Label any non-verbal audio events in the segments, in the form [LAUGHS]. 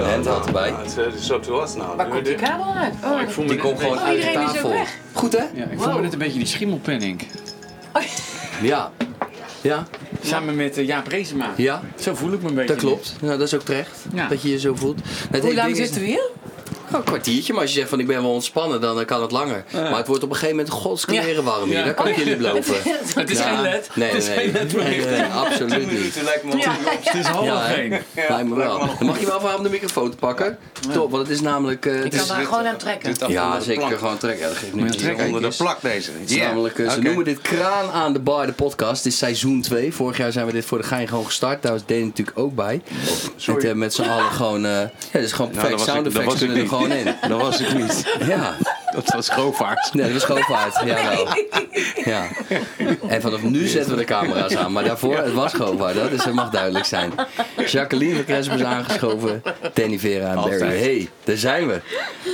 lente had erbij. Nou, it's, uh, it's up to us now. Waar komt die kabel uit? Oh, Ik voel me Die net komt een gewoon beetje- uit Oh, de iedereen is ook tafel. weg. Goed hè? Ja, ik voel Wow. me net een beetje die schimmelpenning. Ja. Ja, Samen met eh, Jaap Reesema. ja. Zo voel ik me een beetje. Dat klopt. Nou, dat is ook terecht. Ja. Dat je je zo voelt. Het Hoe hele lang ding is- zitten we hier? Nou, een kwartiertje, maar als je zegt van ik ben wel ontspannen, dan eh, kan het langer. Ja. Maar het wordt op een gegeven moment godskleren warm hier. Ja. Dat kan ik jullie [LAUGHS] beloven. Het is Ja. geen led. Nee, het is nee, geen led. nee, nee, nee, absoluut niet. lijkt me Ja. Het is half Ja, hè? geen. Lijkt me wel. lijkt me wel. Dan mag je wel even om de microfoon te pakken. Top, want het is namelijk... eh, Ik het kan is- daar gewoon aan trekken. ja, zeker. Gewoon trekken. Ja, dat geeft Moet niet. je trekken? Kijk Onder de eens. plak deze. Het is namelijk, eh, ze noemen dit Kraan aan de Bar, de podcast. Dit is seizoen 2. Vorig jaar zijn we dit voor de gein gewoon gestart. Daar was Deen natuurlijk ook bij. Met, eh, met z'n allen gewoon... eh ja, dit is gewoon perfect. Nou, dat was Sound ik- dat effects was ik kunnen er gewoon [LAUGHS] in. Dat was ik niet. Ja. Dat was Grovaart. Nee, dat was Govaart. Jawel. Ja. En vanaf nu zetten we de camera's aan. Maar daarvoor, het was Govaart. Dus Dat, is, dat mag duidelijk zijn. Jacqueline van Kresp is aangeschoven. Danny Vera en Barry. Altijd. hey, daar zijn we.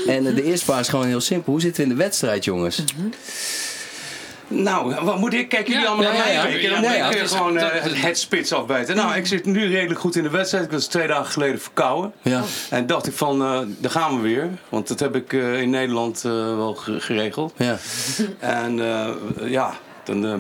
En eh, de eerste vraag is gewoon heel simpel. Hoe zitten we in de wedstrijd, jongens? Nou, wat moet ik? Kijken jullie Ja, allemaal ja, naar ja, mij? kijken? Dan ja, ja. moet ik Dat weer is- gewoon eh, dat is- het, het spits afbijten. Nou, ik zit nu redelijk goed in de wedstrijd. Ik was twee dagen geleden verkouden. Ja. En dacht ik van, eh, daar gaan we weer. Want dat heb ik eh, in Nederland eh, wel ge- geregeld. Ja. En eh, ja, dan... eh,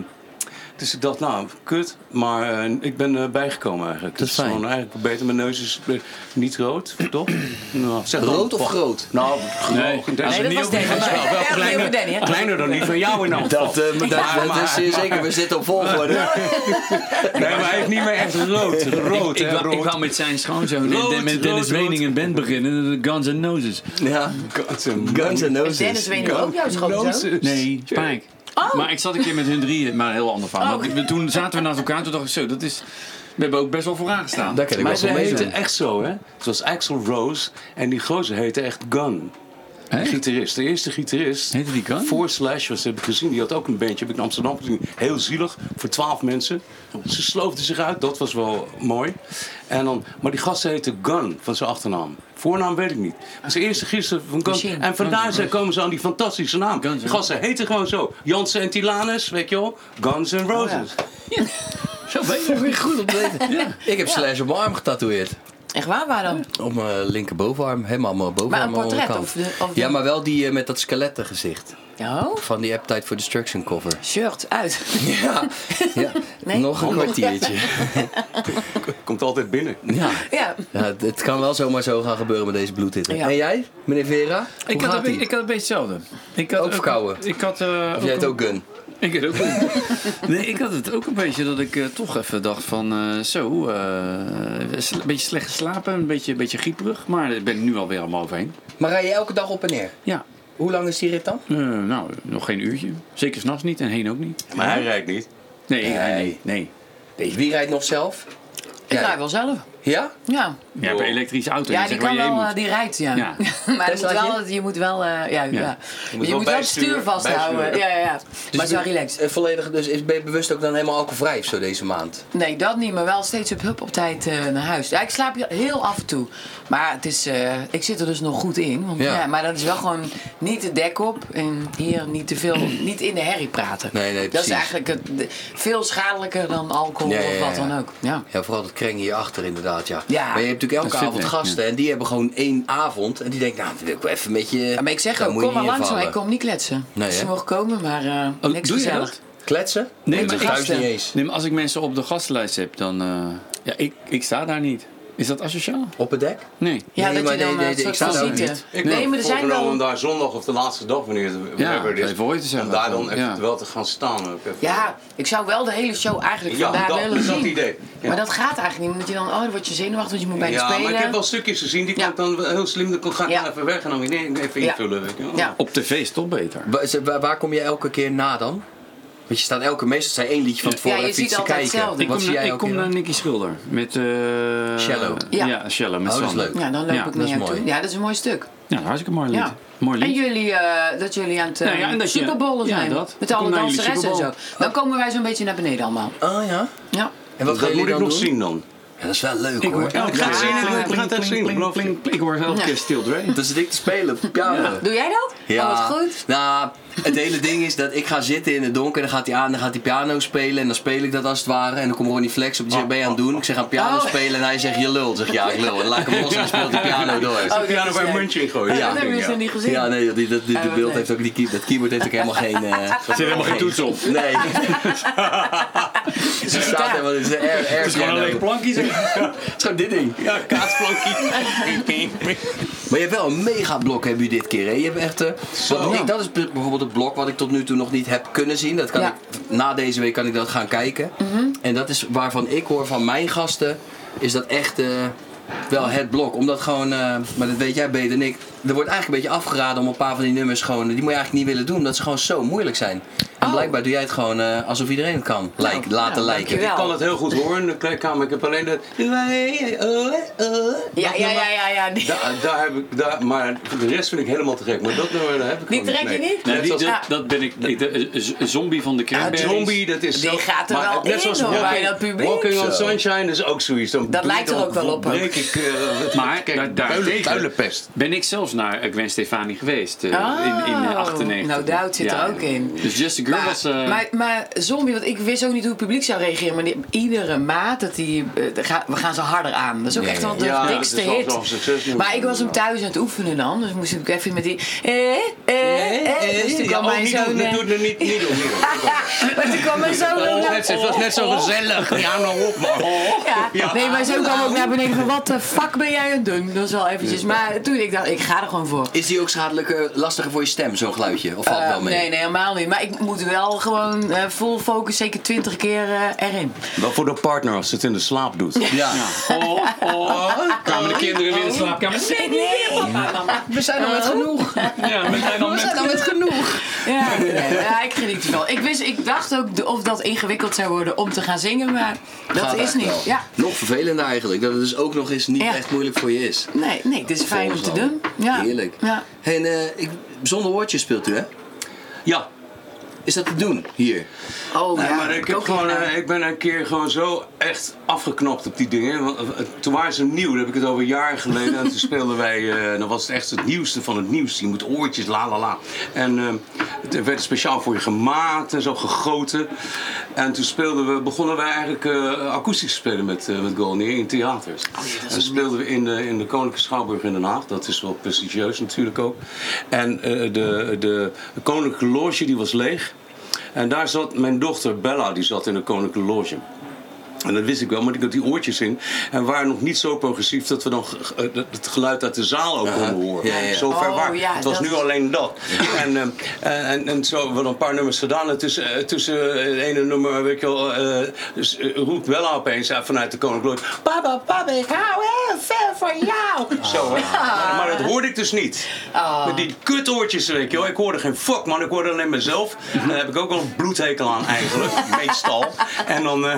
dus ik dacht, nou, kut. Maar eh, ik ben eh, bijgekomen eigenlijk. Dat is Het fijn. gewoon eigenlijk beter. Mijn neus is eh, niet rood, toch? Nou, zeg dan. Rood of groot? Nou, Nee. gewoon. Als Nee, het dat niet was op die Danny. gaat, Ja, wel dat kleiner. was Danny, hè? Kleiner dan die van jou in elk geval. Dat, eh, dat, dat is eh, zeker, we zitten op volgorde. Nee, maar hij heeft niet meer echt rood. Rood, Ik hè, wou, ik rood. wou met zijn schoonzoon Rood, en met Dennis rood, rood. Wening een band beginnen. eh, Guns N' Noses. Ja, guns and Is Dennis noses. Wening ook jouw schoonzoon? Nee, Spijk. Maar ik zat een keer met hun drieën, maar een heel ander verhaal. Oh. Maar we- toen zaten we naast elkaar toen dacht ik zo, dat is... We hebben ook best wel vooraan gestaan. Daar kan ik Maar wel ze van heette meedoen. echt zo, hè? Het was Axel Rose en die gozer heette echt Gun. Hè? Gitarist. De eerste gitarist. Heette die Gun? Voor Slash, was, heb ik gezien. Die had ook een bandje, heb ik in Amsterdam gezien. Heel zielig, voor twaalf mensen. Ze sloofden zich uit, dat was wel mooi. En dan, maar die gast heette Gun, van zijn achternaam. Voornaam weet ik niet. Maar zijn eerste gisteren van Machine. Gun. En vandaar zijn- komen ze aan die fantastische naam. Guns N' Die gasten heten gewoon zo. Jansen en Tilanus, weet je wel. Guns and Oh Roses. Zo ben je nog weer goed op te weten. Ik heb Slash op mijn arm getatoeëerd. Echt waar, waar dan? Op mijn linkerbovenarm, helemaal mijn Maar bovenarm. een aan de portret onderkant. of de- of de- Ja, maar wel die eh, met dat skelettengezicht. Oh, Van die Appetite for Destruction [LAUGHS] cover. shirt uit. [LAUGHS] Ja, ja. Nee? Oh, nog een kwartiertje. Komt altijd binnen. Ja. Ja. Ja, het, het kan wel zomaar zo gaan gebeuren met deze bloedhitte. Ja. En jij, meneer Vera? Hoe Ik had, gaat een, be- ie? ik had een beetje hetzelfde. Ik had Ook verkouden? Ik had, eh, Of jij het een- ook gun? Ik had ook een- [LAUGHS] nee, ik had het ook een beetje dat ik eh, toch even dacht van eh, zo, eh, een beetje slecht geslapen, een beetje, een beetje grieperig. Maar daar ben ik nu alweer allemaal overheen. Maar rij je elke dag op en neer? Ja, Hoe lang is die rit dan? eh, nou, nog geen uurtje. Zeker s'nachts niet en heen ook niet. Maar hij rijdt niet. Nee, nee, Nee. nee. nee. Wie rijdt nog zelf? Ik Jij. rij wel zelf. Ja? Ja, Je hebt een elektrische auto. ja je die zegt kan waar je wel, heen eh, die rijdt, ja. [LAUGHS] Ja. Maar je moet Teslaatje? wel, je moet wel, eh, ja, ja. Je moet, wel wel het bijsturen, stuur vasthouden. bijsturen. Ja, ja, ja. maar zo relaxed. Eh, Volledig, dus is, ben je bewust ook dan helemaal alcoholvrij of zo deze maand? Nee, dat niet, maar wel steeds op hup op tijd eh, naar huis. Ja, ik slaap heel af en toe. Maar het is, eh, ik zit er dus nog goed in. Want, Ja. ja. maar dat is wel gewoon niet de dek op en hier niet te [CLEARS THROAT] veel, niet in de herrie praten. Nee, nee, Dat is precies. eigenlijk het, de- veel schadelijker dan alcohol Ja, ja, ja, of wat ja. dan ook. Ja. Ja, vooral dat krengen hierachter inderdaad, ja. Maar Ja. je hebt natuurlijk Dat elke zit avond niet, gasten en die hebben gewoon één avond. En die denken, nou, dan wil ik wel even met je... Ja, Maar ik zeg Daar ook, moet je kom maar niet in langs, maar ik vallen. kom niet kletsen. Nee, hè? Oh, Ze mogen komen, maar eh, moet. niks doe je gezellig. dat? Kletsen? Nee, maar maar thuis gasten. niet eens. Nee, maar als ik mensen op de gastenlijst heb, dan... eh, ja, ik, ik sta daar niet. Is dat asociaal? Op het dek? Nee. Ja, Nee, dat maar je dan nee, nee, een ik soort sta van daar ziet. niet. eh, Nee, maar er zijn Voorgenomen wel... daar zondag of de laatste dag, wanneer het whatever het is, even ooit te zeggen om daar dan van, even ja. wel te gaan staan. Ook even. Ja, ik zou wel de hele show eigenlijk Ja, vandaar dat- willen dat zien. idee. Ja. Maar dat gaat eigenlijk niet, omdat je dan, oh, dan word je zenuwachtig, want je moet bijna Ja, spelen. maar ik heb wel stukjes gezien, die Ja. kan ik dan wel heel slim, dan ga ik Ja. dan even weg en dan weer even Ja. invullen. weet je wel. Ja. Op tv is toch beter. Wa- ze- Waar, waar kom je elke keer na dan? Want je staat elke meestal zijn één liedje van tevoren Ja, je even iets ziet te altijd kijken. hetzelfde. Ik Wat kom, zie naar, jij ik elke kom keer naar dan? Nicky Schilder. Met... eh Shallow. Ja, Ja. Shallow. Met Oh, dat is Sander. leuk. Ja, dan loop Ja, ik dat is niet aan toe. mooi. Ja, dat is een mooi stuk. Ja, hartstikke mooi lied. Ja. Mooi lied. En jullie, eh, dat jullie aan het eh, Nou ja, en dat je- superbowlen ja, zijn. dat. Met Kom alle naar jullie danseressen en zo. Superbowl. Dan komen wij zo'n beetje naar beneden allemaal. Ah ja? Ja. En wat Dat, gaan jullie moet ik dan nog doen? Oh, zien dan. Ja, dat is wel leuk Ik hoor. hoor elke ik ga het keer- zien, ik pling, ga het pling, echt zien, pling, pling, beloof pling, pling. Ik hoor elke Ja. keer Steel Drain. Dan zit ik te spelen op de piano. Doe jij dat? Oh, wat goed. Nou, het hele ding is dat ik ga zitten in het donker. Dan gaat hij aan, dan gaat hij piano spelen. En dan speel ik dat als het ware. En dan komt Ronnie Flex op. Die zegt, ben je aan het doen? Ik zeg, aan piano Oh. spelen. En hij zegt, je lul. Ik zeg, ja, ik lul. En dan laat ik hem los en dan speelt hij piano door. Oh, Ik dit ga er is bij een leuk. muntje in gooien. Oh, Ja, [LAUGHS] dat hebben we ze niet gezien. Ja, nee, dat die, dat, die, Oh, dat wat beeld leuk. heeft ook, die key- dat keyboard heeft ook helemaal geen... [LAUGHS] eh, Er zit helemaal geen toets op. [LAUGHS] Nee. Ze staat helemaal in zijn air, air Het is gewoon een piano. leeg plankje. zeg. [LAUGHS] Het is gewoon dit ding. Ja, kaasplankje. Maar je hebt wel een mega blok hebben jullie dit keer. Hè? Je hebt echt. eh, wat ik, dat is b- bijvoorbeeld het blok wat ik tot nu toe nog niet heb kunnen zien. Dat kan Ja. Mhm. ik, na deze week kan ik dat gaan kijken. En dat is waarvan ik hoor van mijn gasten. Is dat echt eh, wel het blok. Omdat gewoon, eh, maar dat weet jij beter dan ik. Er wordt eigenlijk een beetje afgeraden om een paar van die nummers gewoon. Die moet je eigenlijk niet willen doen. Omdat ze gewoon zo moeilijk zijn. En Oh. blijkbaar doe jij het gewoon eh, alsof iedereen het kan. lijk- laten nou, lijken. [LAUGHS] Ik dankjewel. kan het heel goed horen in de kleedkamer. Ik heb alleen dat... Ja, ja, ja, ja. ja. Die, Daar, daar heb ik, daar, maar de rest vind ik helemaal te gek. Maar dat nummer daar heb ik die gewoon trek je Nee. niet? Nee, Net die- als- dat, dat ben ik. ik- de- eh, z- zombie van de Cranberries. Zombie, dat is Die zo- gaat er maar wel in, hoor, walking- bij dat publiek. Walking on Zo. Sunshine is ook zoiets. Dan Dat breek lijkt er ik- ook wel op, breek ik, eh, wat- Maar kijk, daar- daar builen, tegen- builenpest. Ben ik zelfs naar eh, Gwen Stefani geweest eh, Oh, in, in eh, 98. Nou, No Doubt zit er ook in. Dus Just a Girl was... eh, maar, maar zombie, want ik wist ook niet hoe het publiek zou reageren. Maar die- iedere maat, dat die, eh, daar ga- we gaan ze harder aan. Dat is ook echt wel de Ja, dat is dikste wel hit. zo'n succesnummer. maar ik was hem thuis aan het oefenen dan. Dus moest ik even met die... Eh, eh, eh. Dus toen kwam mijn oh, niet doen, zoon... niet eh, doen, niet doen, niet doen. niet [LAUGHS] doen. [LAUGHS] Maar toen kwam mijn zoon... ook naar- Het was net zo gezellig. Ja, nou op, man. Ja. Nee, maar zo kwam ook naar beneden van wat de fuck ben jij aan het doen? Dat is wel eventjes. Maar toen ik dacht, ik ga er gewoon voor. Is die ook schadelijk eh, lastiger voor je stem, zo'n geluidje? Of valt het Eh, wel mee? nee, nee, helemaal niet. Maar ik moet wel gewoon eh, full focus, zeker twintig keer eh, erin. Wel voor de partner als ze het in de slaap doet. [LAUGHS] Ja. Oh, [LAUGHS] oh, kwamen de kinderen weer in de slaapkamer. Nee, nee, We zijn al met Oh. genoeg. Ja, we zijn al We met... zijn al met genoeg. Ja, nee, ja, ik geniet ervan. Ik, wist, ik dacht ook de- of dat ingewikkeld zou worden om te gaan zingen, maar dat Gaat is echt niet. wel. Ja. Nog vervelender eigenlijk. Dat het dus ook nog eens niet Ja. echt moeilijk voor je is. Nee, nee, het is fijn om te Volgens doen. dan. Ja. Heerlijk. Ja. Hey, en, eh, ik, zonder hoortje speelt u, hè? Ja, Is dat te doen hier? Oh, Nee, ja, maar ik, heb heb ook gewoon, gedaan. eh, ik ben een keer gewoon zo echt afgeknapt op die dingen. Want, eh, Toen waren ze nieuw, daar heb ik het over jaren geleden. en toen speelden wij, eh, dan was het echt het nieuwste van het nieuws. Je moet oortjes, la la la. En eh, er werd speciaal voor je gemaakt en zo gegoten. En toen speelden we, begonnen wij eigenlijk eh akoestisch te spelen met, eh met Golnier in theaters. Oh, en dat speelden we in de, in de Koninklijke Schouwburg in Den Haag. Dat is wel prestigieus natuurlijk ook. En eh, de, de Koninklijke Loge die was leeg. En daar zat mijn dochter Bella, die zat in de Koninklijke Loge. En dat wist ik wel, maar ik had die oortjes in. En waren nog niet zo progressief dat we dan ge- ge- eh, dat- het geluid uit de zaal ook konden horen. Ja, ja. Zo ver Oh, waar. ja, het was dat nu is- alleen dat. En, eh, en, en, en zo hebben we dan een paar nummers gedaan. En tussen, eh, tussen eh, het ene nummer, weet je wel, eh, dus, eh, roept Bella opeens uit vanuit de Koninklijke Loge. Papa, papa, ik hou heel veel van jou. Zo, hè. Maar, maar dat hoorde ik dus niet. Oh. Met die kutoortjes, weet je wel. Ik hoorde geen fuck, man. Ik hoorde alleen mezelf. En daar heb ik ook wel een bloedhekel aan, [LAUGHS] eigenlijk. Meestal. En dan... eh,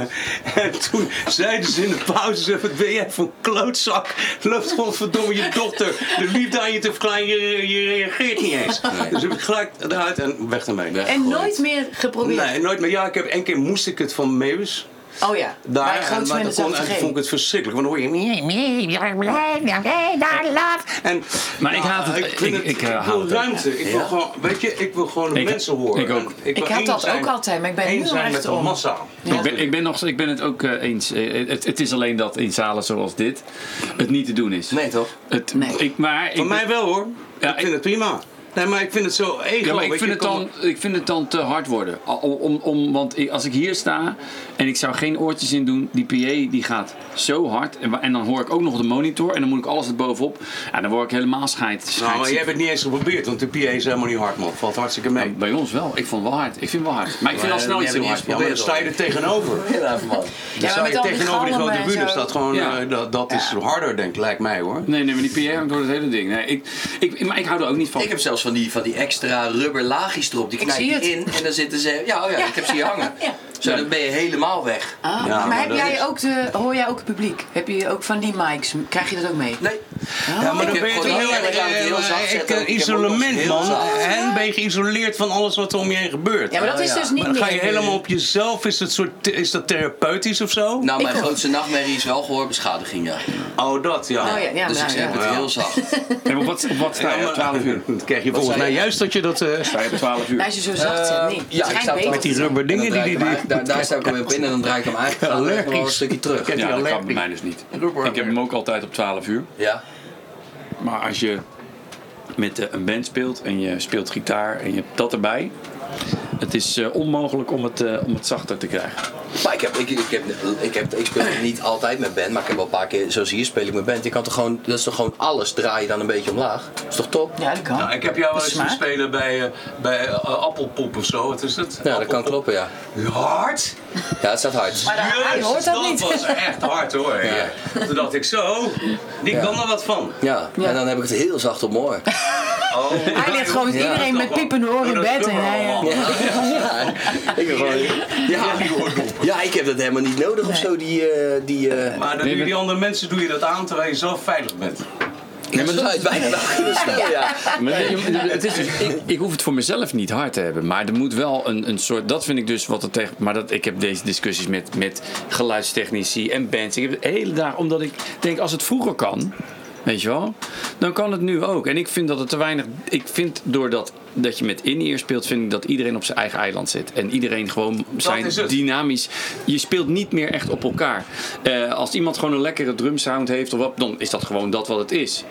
en toen zeiden ze in de pauze... ze, Wat ben jij voor een klootzak? Loopt godverdomme je dochter de liefde aan je te verklaren. Je, je reageert niet eens. Dus heb ik gelijk eruit en weg ermee. Weg. En nooit meer geprobeerd. Nee, nooit meer. Ja, ik heb één keer moest ik het van Meeuwis. Oh ja, Daar, bij en, grote maar dat mensen kon, zelf en toen te vond ik het verschrikkelijk. Want dan hoor je... En, nou, Maar ik haat het. Ik, vind Ik- het- ik, eh, haat wil het ook. ruimte. Ik wil gewoon, weet je, ik wil gewoon Ik- mensen horen. ik ook. En wil Ik had één dat ook altijd, maar ik ben één nu zijn echt met de om. massa. Ja. Ik ben, ik, ben nog, ik ben het ook eh, eens. Eh, het, het is alleen dat in zalen zoals dit het niet te doen is. Nee, toch? Het, Nee. Ik, maar ik, Voor mij wel hoor. Ja, ik vind ik- het prima. Nee, maar ik vind het zo ego. Ja, maar ik weet vind, je, het kan- dan, ik vind het dan te hard worden. Al- Om, om, want ik- als ik hier sta en ik zou geen oortjes in doen, die PA die gaat zo hard. En, wa- en dan hoor ik ook nog de monitor en dan moet ik alles erbovenop. En dan word ik helemaal scheid. Nou, maar scheidsziek. jij hebt het niet eens geprobeerd, want de PA is helemaal niet hard, man. Valt hartstikke mee. Bij ons wel. Ik vond het wel hard. Ik vind het wel hard. Maar ik vind Maar, al snel eh, iets jij heel bent hard. niet ja, maar dan sta je er tegenover. Heel even, man. Dan sta met je al die tegenover die grote galmen en bühne. zo. staat gewoon, Ja. eh, dat, dat is harder, denk ik, lijkt mij hoor. Nee, nee, maar die PA hangt door het hele ding. Nee, ik, ik, maar ik hou er ook niet van. Ik heb zelfs van die, van die extra rubber laagjes erop. Die Ik knijp zie je het. in en dan zitten ze... Ja, oh ja, ik heb ze hier hangen. [LAUGHS] Ja. Zo, dan ben je helemaal weg. Ah, Ja, maar maar heb dat jij is- ook de, hoor jij ook het publiek? Heb je ook van die mics? Krijg je dat ook mee? Nee. Oh. Ja, maar Ik dan heb ben je gewoon toch heel heel erg aan het heel zacht erg zetten ik, eh, ook. Ik heb ook isolement, heel man. zacht. En ben je geïsoleerd van alles wat er om je heen gebeurt. Ja, maar dat Oh, is ja. dus niet Maar dan meer. ga je helemaal op jezelf. Is dat, soort, is dat therapeutisch of zo? Nou, mijn Ik ook. grootste nachtmerrie is wel gehoorbeschadiging, ja. oh, dat ja. Oh ja, ja, Dus nou, ik ja. heb het heel [LAUGHS] zacht. En op wat, op wat sta je? Ja, Op 12 uur. [LAUGHS] Dan krijg je volgens zei mij je? juist dat je dat... eh, Sta je op 12 Nou, uur? als je zo zacht zit, nee. Eh, Het schijnt sta op beter de- te die zijn. rubber dingen En dan draai die- ik hem die- uit- daar, daar sta ik hem weer op in en dan draai ik hem eigenlijk dan weer gewoon een Allergisch. stukje terug. Ja. Ja, dat kan bij allergisch. mij dus niet. Rubber. Ik heb hem ook altijd op 12 uur. Ja. Maar als je met eh, een band speelt en je speelt gitaar en je hebt dat erbij. Het is eh, onmogelijk om het, eh, om het zachter te krijgen. Maar ik, heb, ik, ik, heb, ik, heb, ik speel niet altijd met band, maar ik heb wel een paar keer, zoals hier speel ik met band. Je kan toch gewoon, dat is toch gewoon alles draaien dan een beetje omlaag? Dat is toch top? Ja, dat kan. Nou, ik heb jou wel eens Smaak. zien spelen bij, eh, bij eh, Appelpop of zo. Wat is het? Ja, dat kan kloppen, ja. Hard? Ja, het staat hard. Maar daar- hij Jezus, hoort dat niet. was echt hard hoor. Ja. Toen dacht ik zo, die kan er wat van. Ja, en dan heb ik het heel zacht op mijn oor. Oh, Hij ligt gewoon met Ja. iedereen met piepende oren in bed. En hij, eh, Ja, ja. Ik, heb gewoon, ja. ja, ik heb dat helemaal niet nodig of zo, die... eh, die eh, Maar dan Nee, doe je maar- die andere mensen doe je dat aan terwijl je zelf veilig bent. ja, maar dat is bijna wel heel snel, ja. Maar het [LAUGHS] is dus, ik, ik hoef het voor mezelf niet hard te hebben. Maar er moet wel een, een soort. Dat vind ik dus wat er tegen. Maar dat, ik heb deze discussies met, met geluidstechnici en bands. Ik heb het de hele dag. Omdat ik denk, als het vroeger kan. Weet je wel? Dan kan het nu ook. En ik vind dat het te weinig. Ik vind doordat dat je met in-ear speelt, vind ik dat iedereen op zijn eigen eiland zit. En iedereen gewoon zijn is het. dynamisch. Je speelt niet meer echt op elkaar. Eh, als iemand gewoon een lekkere drumsound heeft of wat, dan is dat gewoon dat wat het is.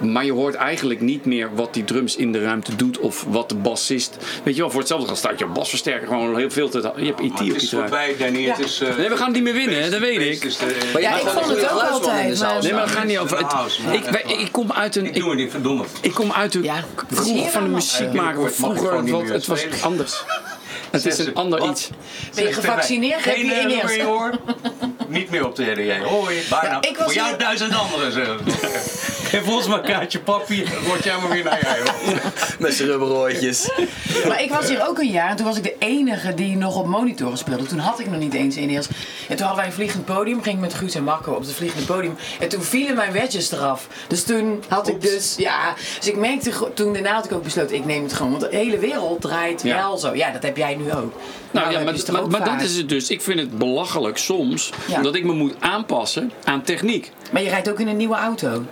Maar je hoort eigenlijk niet meer wat die drums in de ruimte doet of wat de bassist. Weet je wel, voor hetzelfde geld staat je basversterker gewoon heel veel te. Je hebt Maar IT op het je is voorbij, draai. Danny. Het is, eh, Nee, we gaan het niet meer winnen, beest- dat weet beest ik. is de- Maar jij Ja, hebt ik gewoon vond een het goede ook geluidsman in de altijd, zaal maar- Nee, staan. maar dat gaat niet over. Het, House, man. ik, wij- ik kom uit een. Ik doe Ik, het niet, verdomme. ik kom uit de Ja, dat is kroeg hier van de allemaal. muziek maken. Binnenkort mag ik gewoon Vroeger niet was meer het was spelen. anders. Het is een ander Wat? iets. Ben je gevaccineerd? Heb je Geen eh, in nummer, hoor. Niet meer op te redden jij. Hoi, bijna. Ja, ik was Voor jou hier- duizend anderen. zeggen ze. Geef ons maar een kaartje papier. Dan word jij maar weer naar jij. hoor. Met z'n rubberoortjes. Maar ik was hier ook een jaar en toen was ik de enige die nog op monitoren speelde. Toen had ik nog niet eens in-ears. En toen hadden wij een vliegend podium, ging ik met Guus en Marco op het vliegende podium. En toen vielen mijn wedges eraf. Dus toen had ik dus, ja. Dus ik merkte go- toen daarna had ik ook besloten, ik neem het gewoon. Want de hele wereld draait Ja. wel zo. Ja, dat heb jij nu ook. Nou ja, heb maar, je het er maar, ook maar vaak. dat is het dus. Ik vind het belachelijk soms Ja. dat ik me moet aanpassen aan techniek. Maar je rijdt ook in een nieuwe auto.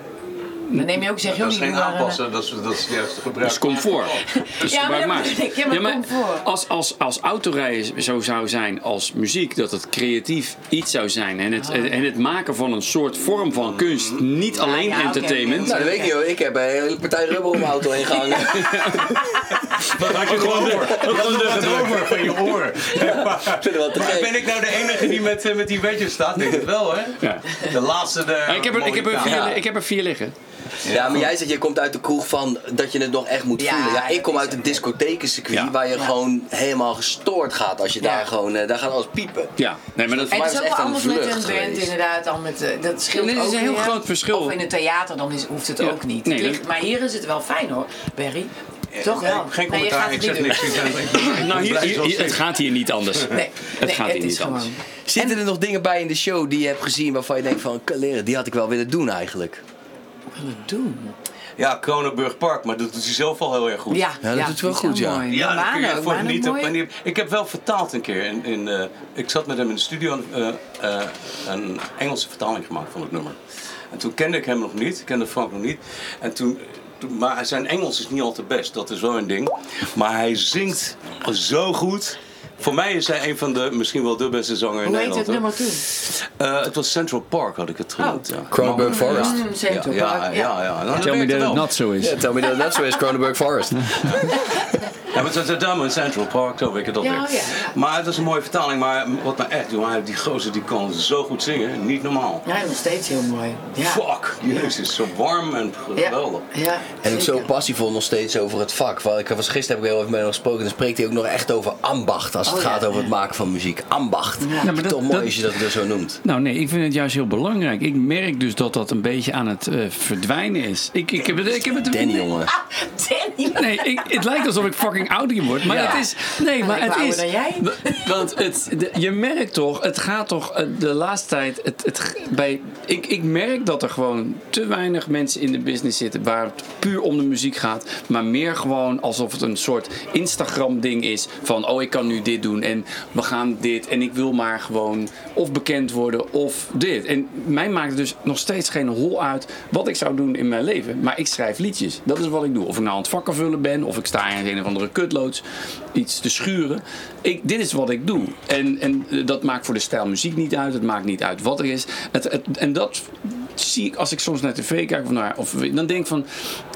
Dan neem je ook, zeg je ook Dat is niet geen maar, eh, aanpassen. Dat is, dat is juist gebruik. Dat is comfort. Dus Ja, maar gebruik dat bedoel ik. Ja, maar comfort. Als, als, als autorijden zo zou zijn als muziek, dat het creatief iets zou zijn. En het, en het maken van een soort vorm van kunst. Niet alleen Ah. Mm. ja, oké, entertainment. oké. Nou, dat weet ik niet hoor. Ik heb een hele partij rubber om mijn auto heen [LAUGHS] gehangen. Dat had je gewoon over. Dat had je wat over van je oren. Ik vind het wel te Maar gek. ben ik nou de enige die met, eh, met die wedges staat? Denk het wel, hè? Ja. De laatste. eh, De Ik heb, er, ik, heb er Mohikaan. vier, Ja. ik heb er vier liggen. Ja, maar jij zegt, je komt uit de kroeg van dat je het nog echt moet Ja, voelen. Ja, dat ik kom is uit ook een discothekencircuit Ja. waar je gewoon helemaal gestoord gaat als je Ja. daar gewoon, eh, daar gaat alles piepen. Ja, nee, maar dat, En- En Maar het is het ook is wel echt een anders met een vlucht band geweest. inderdaad dan met eh, dat scheelt Dit is ook een heel weer. groot verschil. Of in het theater dan is, hoeft het Ja. ook niet. Nee, Klinkt- dat- maar hier is het wel fijn hoor, Barry. Toch wel? Geen Nee, je gaat commentaar, ik het niet zeg doen. niks. Ik ben- ik ben nou, hier, hier- blij hier- zoals het gaat hier niet anders. Nee, het nee, gaat hier het niet is anders. gewoon. Zitten er nog dingen bij in de show die je hebt gezien waarvan je denkt van, leren, die had ik wel willen doen eigenlijk? Wat doen? Ja, Kronenburg Park, maar dat doet hij zelf al heel erg goed. Ja, dat doet het wel goed, ja. Ja, daar kun je voor niet genieten. Wanneer- Ik heb wel vertaald een keer. In, in, eh, ik zat met hem in de studio en eh, eh, een Engelse vertaling gemaakt van het nummer. En toen kende ik hem nog niet, ik kende Frank nog niet. En toen, toen, maar zijn Engels is niet al te best, dat is wel een ding. Maar hij zingt zo goed. Voor mij is hij een van de, misschien wel de beste zanger in Hoe heet Nederland. het nummer toen? hoor. Eh, het was Central Park, had ik het genoemd. ja. Kronenburg Forest. Mm, Ja, Central ja, ja. Park, ja, ja. Nou, dat Tell me werkte that wel. it not so is. tell me that that's where is Kronenburg Forest. Ja, maar het was in Central Park, zo weet ik het Ja, alweer. oh ja, ja. Maar het was een mooie vertaling, maar wat mij echt doet, maar die gozer die kan zo goed zingen, niet normaal. Ja, nog steeds heel mooi. Ja. Fuck, jezus, zo warm en geweldig. Ja, ja, En ook zo zeker. passievol nog steeds over het vak. Want ik was gisteren heb ik heel even met hem gesproken. Dan spreekt hij ook nog echt over ambacht. Als het Oh, ja, gaat over het ja. maken van muziek. Ambacht. Ja, maar dat- Toch mooi dat- als je dat er zo noemt. Nou nee, ik vind het juist heel belangrijk. Ik merk dus dat dat een beetje aan het eh, verdwijnen is. Ik, ik, heb, het, ik heb het Danny, jongen. Ah, [LAUGHS] Danny. [LAUGHS] Nee, ik, het lijkt alsof ik fucking fucking ouder je wordt. Maar Ja. het is. Nee, maar ik het ben is. ouder dan jij. w- Want het, de- je merkt toch, het gaat toch eh, de laatste tijd. Het, het, g- bij, ik, ik merk dat er gewoon te weinig mensen in de business zitten waar het puur om de muziek gaat. Maar meer gewoon alsof het een soort Instagram-ding is. Van oh, ik kan nu dit doen en we gaan dit. En ik wil maar gewoon of bekend worden of dit. En mij maakt het dus nog steeds geen hol uit wat ik zou doen in mijn leven. Maar ik schrijf liedjes. Dat is wat ik doe. Of ik nou aan het vakken vullen ben, of ik sta in een of andere kutloods iets te schuren. Ik, dit is wat ik doe. En, en eh, dat maakt voor de stijl muziek niet uit. Het maakt niet uit wat er is. Het, het- en dat zie ik als ik soms naar tv kijk of naar. Of, dan denk ik van: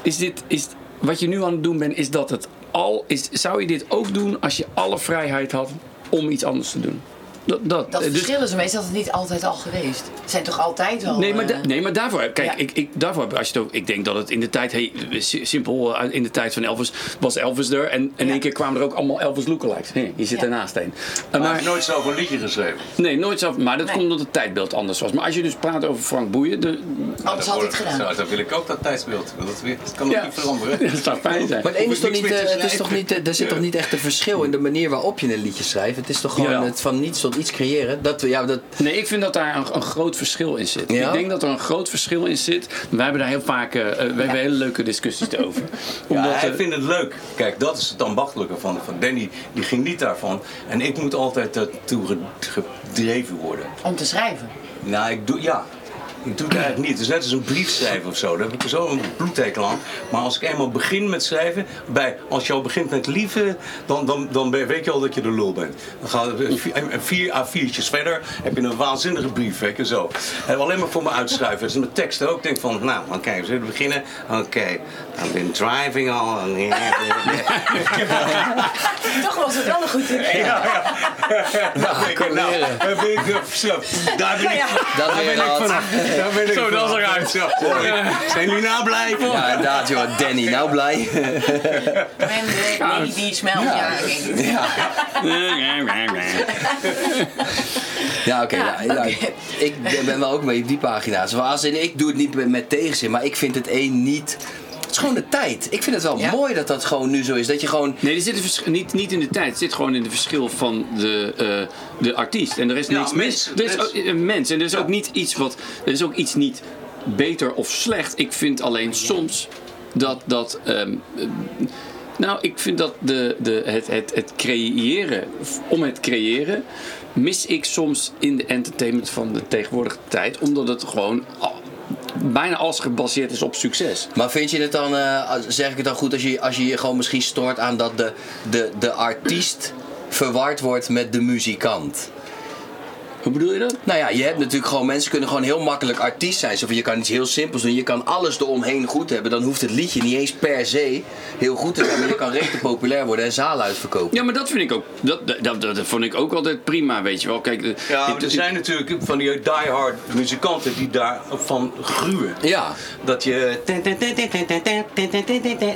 is dit. Is, wat je nu aan het doen bent, is dat het al. Is, zou je dit ook doen als je alle vrijheid had om iets anders te doen? Dat, dat, Dat eh, dus- verschil is ermee, is dat het niet altijd al geweest. Het zijn toch altijd al... Nee maar, da- eh, nee, maar daarvoor, kijk, Ja. ik, ik, daarvoor heb- als je het ook, ik denk dat het in de tijd, hey, si- simpel, eh, in de tijd van Elvis was Elvis er en in Ja. één keer kwamen er ook allemaal Elvis lookalikes. Hé, je zit Ja. ernaast heen. Eh, Maar hij maar, heeft nooit zelf een liedje geschreven. nee, nooit zelf, maar dat Nee. komt omdat het tijdbeeld anders was. Maar als je dus praat over Frank Boeien, de, Anders had hij het gedaan. Zo, dan wil ik ook dat tijdsbeeld. Want Dat, weer- dat kan ook Ja. niet veranderen. [LAUGHS] dat zou fijn zijn. Maar het ene is toch Hoef ik niet, niks meer eh, te het is toch schrijven. niet, eh, er zit toch niet echt een verschil in de manier waarop je een liedje schrijft. Het is toch gewoon Jawel. het van niets tot iets creëren. Dat, we- ja, dat, Nee, ik vind dat daar een, een groot verschil in zit. Ja? Ik denk dat er een groot verschil in zit. Wij hebben daar heel vaak, eh, eh, we hebben hele leuke discussies over. Ja, Omdat, hij eh, vindt het leuk. Kijk, dat is het ambachtelijke van, van Danny. Die ging niet daarvan. En ik moet altijd daartoe ge- gedreven worden. Om te schrijven. Nou, ik doe, ja. Ik doe het eigenlijk niet. Het is net als een brief schrijven of zo. Daar heb ik zo een bloedhekel aan. Maar als ik eenmaal begin met schrijven, bij, als je al begint met lieve, dan, dan, dan ben- weet je al dat je de lul bent. Dan gaan we vier- en vier A4'tjes verder, heb je een waanzinnige brief, weet je zo. En alleen maar voor me uitschuiven. Dus mijn teksten ook. Ik denk van, nou, oké, we zullen beginnen. Oké, I've been driving all. Nou, Toch was het wel een goed idee. Ja, ja. Nou, ik, nou, leren. daar ben ik, eh, zo, daar ben ik, dat daar weer ben ik wat. vanaf. Daar ben ik Zo, dat is vanaf. [LAUGHS] eruit. Zo, mooi. Zijn jullie nou blij? Ja, inderdaad joh, Danny, nou blij. En de baby smelt. Ja, ik weet het. Ja, oké. Ja, nou, nou, oké. Ik ben- ben wel ook mee op die pagina's. Maar als in, ik doe het niet met, met tegenzin, maar ik vind het één niet... Het is gewoon de tijd. Ik vind het wel Ja. mooi dat dat gewoon nu zo is. Dat je gewoon... Nee, er zit een verschil, niet, niet in de tijd. Het zit gewoon in het verschil van de, eh, de artiest. En er is Ja, niets mis. mens, Er is mens. ook- een mens. En er is ook niet iets wat. Er is ook iets niet beter of slecht. Ik vind alleen soms dat. dat ehm, eh, nou, ik vind dat de, de, het, het, het creëren, f- om het creëren, mis ik soms in de entertainment van de tegenwoordige tijd. Omdat het gewoon al- bijna alles gebaseerd is op succes. Maar vind je het dan, eh, als- zeg ik het dan goed, als je, als je je gewoon misschien stoort aan dat de, de, de artiest verward wordt met de muzikant? Hoe bedoel je dat? Nou ja, je hebt natuurlijk gewoon, mensen kunnen gewoon heel makkelijk artiest zijn. Zo van, je kan iets heel simpels doen, je kan alles eromheen goed hebben. Dan hoeft het liedje niet eens per se heel goed te zijn, maar je kan rete populair worden en zalen uitverkopen. Ja, maar dat vind ik ook. Dat, dat, dat, dat vond ik ook altijd prima, weet je wel. Kijk, eh, Ja, het- maar er zijn natuurlijk van die diehard muzikanten die daarvan gruwen. Ja. Dat je... En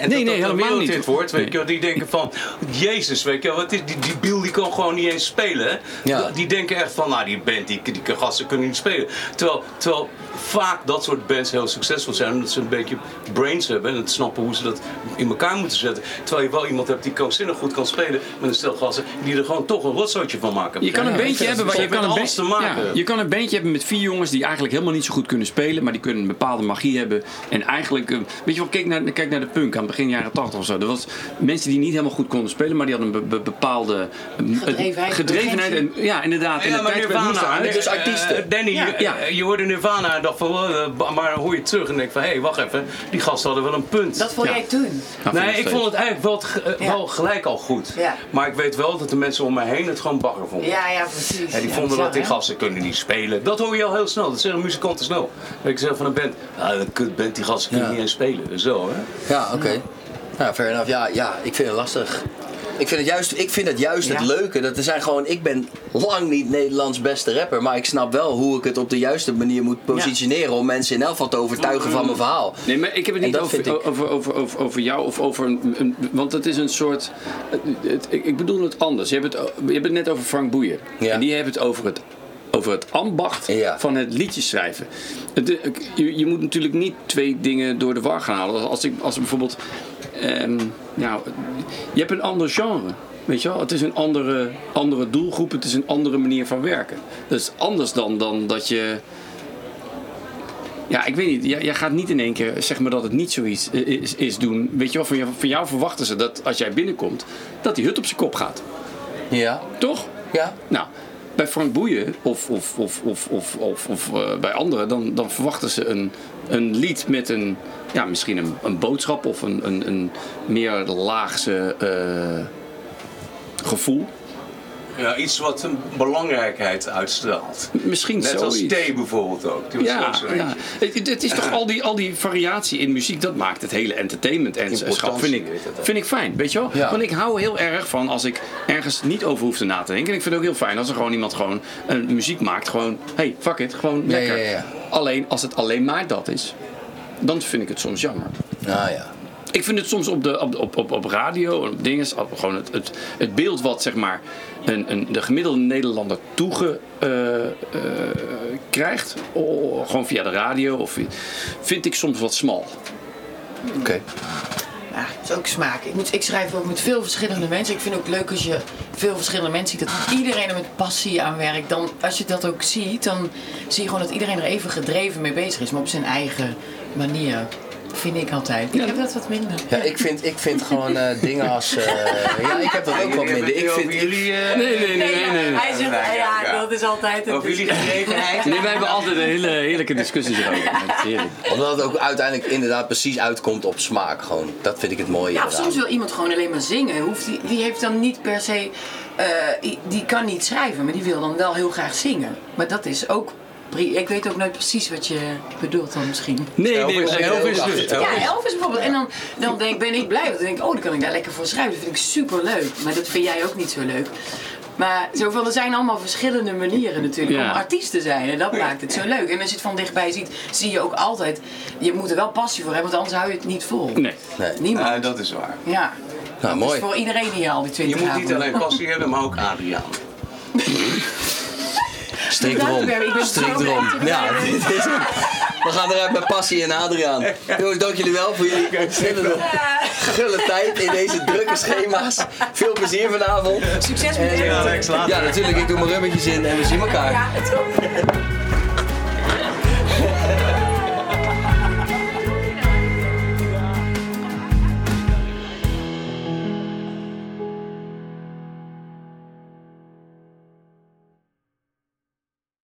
nee, dat dat een helemaal niet. wereldhit wordt, weet je Nee. wel. Die denken van, jezus, weet je wel, wat is, die, die Biel die kan gewoon niet eens spelen. hè. Ja. Die denken echt van, nou die band, die, die gasten kunnen niet spelen. Terwijl, terwijl vaak dat soort bands heel succesvol zijn, omdat ze een beetje brains hebben en het snappen hoe ze dat in elkaar moeten zetten. Terwijl je wel iemand hebt die krankzinnig goed kan spelen met een stel gasten, die er gewoon toch een rotzootje van maken. Je kan een weet beentje hebben waar je kan een alles te maken. ja, je kan een beentje hebben met vier jongens die eigenlijk helemaal niet zo goed kunnen spelen, maar die kunnen een bepaalde magie hebben. En eigenlijk, eh, weet je wel, kijk naar, kijk naar de punk aan begin jaren 80 of zo. Er was mensen die niet helemaal goed konden spelen, maar die hadden een be- be- bepaalde eh, Gedrevenheid, gedrevenheid en, ja, inderdaad. Ah en Ja, de maar tijd werd moest Nirvana. aan. eh, dus artiesten. eh, Danny, Ja. je- Ja. eh, je hoorde Nirvana en dacht van, wel, eh, ba- maar dan hoor je het terug en denk van, hé, hey, wacht even, die gasten hadden wel een punt. Dat vond Ja. jij toen. Nou, nee, vind ik nog vond steeds. het eigenlijk wel, het ge- eh, Ja. wel gelijk al goed. Ja. Maar ik weet wel dat de mensen om mij heen het gewoon bagger vonden. Ja, ja, precies. En die Ja, vonden bizar, dat die hè? gasten kunnen niet spelen. Dat hoor je al heel snel. Dat zeggen muzikanten snel. Ik zeg van een band, ah, een kut band, die gasten kunnen Ja. niet eens spelen. Zo, hè. Ja, oké. Nou, fair enough. Ja, ja, ik vind het lastig. Ik vind het juist, ik vind het, juist het Ja. leuke. Dat er zijn gewoon, ik ben lang niet Nederlands beste rapper. Maar ik snap wel hoe ik het op de juiste manier moet positioneren. Om mensen in elk geval te overtuigen van mijn verhaal. Nee, maar ik heb En het niet dat over, vind ik- over, over, over, over jou of over een, een- Want het is een soort. het- het- ik ik bedoel het anders. Je hebt het, o- je hebt het net over Frank Boeien. Ja. En die heeft het over het over het ambacht Ja. van het liedjes schrijven. Het, eh, ik- je, je moet natuurlijk niet twee dingen door de war gaan halen. Als- Als ik als ik bijvoorbeeld. ehm, nou, je hebt een ander genre. Weet je wel, het is een andere, andere doelgroep, het is een andere manier van werken. Dat is anders dan, dan dat je. Ja, ik weet niet. Jij, jij gaat niet in één keer zeg maar dat het niet zoiets eh, is, is doen. Weet je wel, van jou, van jou verwachten ze dat als jij binnenkomt, dat die hut op zijn kop gaat. Ja. Toch? Ja. Nou, bij Frank Boeien of, of, of, of, of, of, of, eh, bij anderen, dan, dan verwachten ze een, een lied met een, ja, misschien een, een boodschap of een, een, een meer laagse eh, gevoel. Ja, iets wat een belangrijkheid uitstraalt. Misschien Net zoiets. als thee bijvoorbeeld ook. Die was Ja, ook zo ja. eentje. Het, het- het is toch al die, al die variatie in muziek, dat maakt het hele entertainment en Importantie, schap, vind ik, weet je dat. vind ik fijn, weet je wel? Ja. Want ik hou heel erg van als ik ergens niet over hoef te na te denken. En ik vind het ook heel fijn als er gewoon iemand gewoon een muziek maakt, gewoon, hey, fuck it, gewoon Ja, lekker. ja, ja. Alleen, als het alleen maar dat is, dan vind ik het soms jammer. Nou ja. Ik vind het soms op, de, op, op, op, op radio en op dingen, op gewoon het, het, het beeld wat zeg maar een, een, de gemiddelde Nederlander toege eh, eh, krijgt, o- gewoon via de radio, of, via- vind ik soms wat smal. Oké. Ja, het is ook smaak. Ik, moet, ik schrijf ook met veel verschillende mensen. Ik vind het ook leuk als je veel verschillende mensen ziet. Dat iedereen er met passie aan werkt. Dan, als je dat ook ziet, dan zie je gewoon dat iedereen er even gedreven mee bezig is. Maar op zijn eigen manier. Vind ik altijd. Ik heb dat wat minder. Ja, ik vind, ik vind gewoon eh, dingen als... eh, ja, ik heb dat ook wat Jullie hebben minder. het nu Ik over vind, jullie, eh, nee, Hij zegt, Ja, ja, ja. dat is altijd het. over jullie gedrevenheid. Nee, wij hebben altijd een hele heerlijke discussie erover. Dat is heerlijk. Omdat het ook uiteindelijk inderdaad precies uitkomt op smaak gewoon. Dat vind ik het mooie Ja, of eraan. soms wil iemand gewoon alleen maar zingen. Hoeft die, die heeft dan niet per se. eh, die, die kan niet schrijven, maar die wil dan wel heel graag zingen. Maar dat is ook. pri- Ik weet ook nooit precies wat je bedoelt dan misschien. Nee, nee, Elvis, nee. Elvis Elvis. dus. Ja, Elvis. Elvis bijvoorbeeld. En dan, dan denk, ben ik blij. Want dan denk ik, oh, dan kan ik daar lekker voor schrijven. Dat vind ik super leuk. Maar dat vind jij ook niet zo leuk. Maar zoveel, er zijn allemaal verschillende manieren natuurlijk Ja. om artiest te zijn. En dat maakt het zo leuk. En als je het van dichtbij ziet, zie je ook altijd... Je moet er wel passie voor hebben, want anders hou je het niet vol. Nee. Nee. Niemand. Ja, dat is waar. Ja. Nou, Dus mooi. voor iedereen hier al die 20 Je moet niet avonden. alleen passie hebben, maar ook Adriaan. Strik Bedankt, erom. Berry. Ik ben Strik zo erom. blij. Ja, dit is hem. We gaan eruit met passie en Adriaan. Jongens, dank jullie wel voor jullie gulle, gulle tijd in deze drukke schema's. Veel plezier vanavond. Succes met En, Edwin. eh, Ja, natuurlijk. Ik doe mijn rubbertjes in en we zien elkaar. Ja, het ook.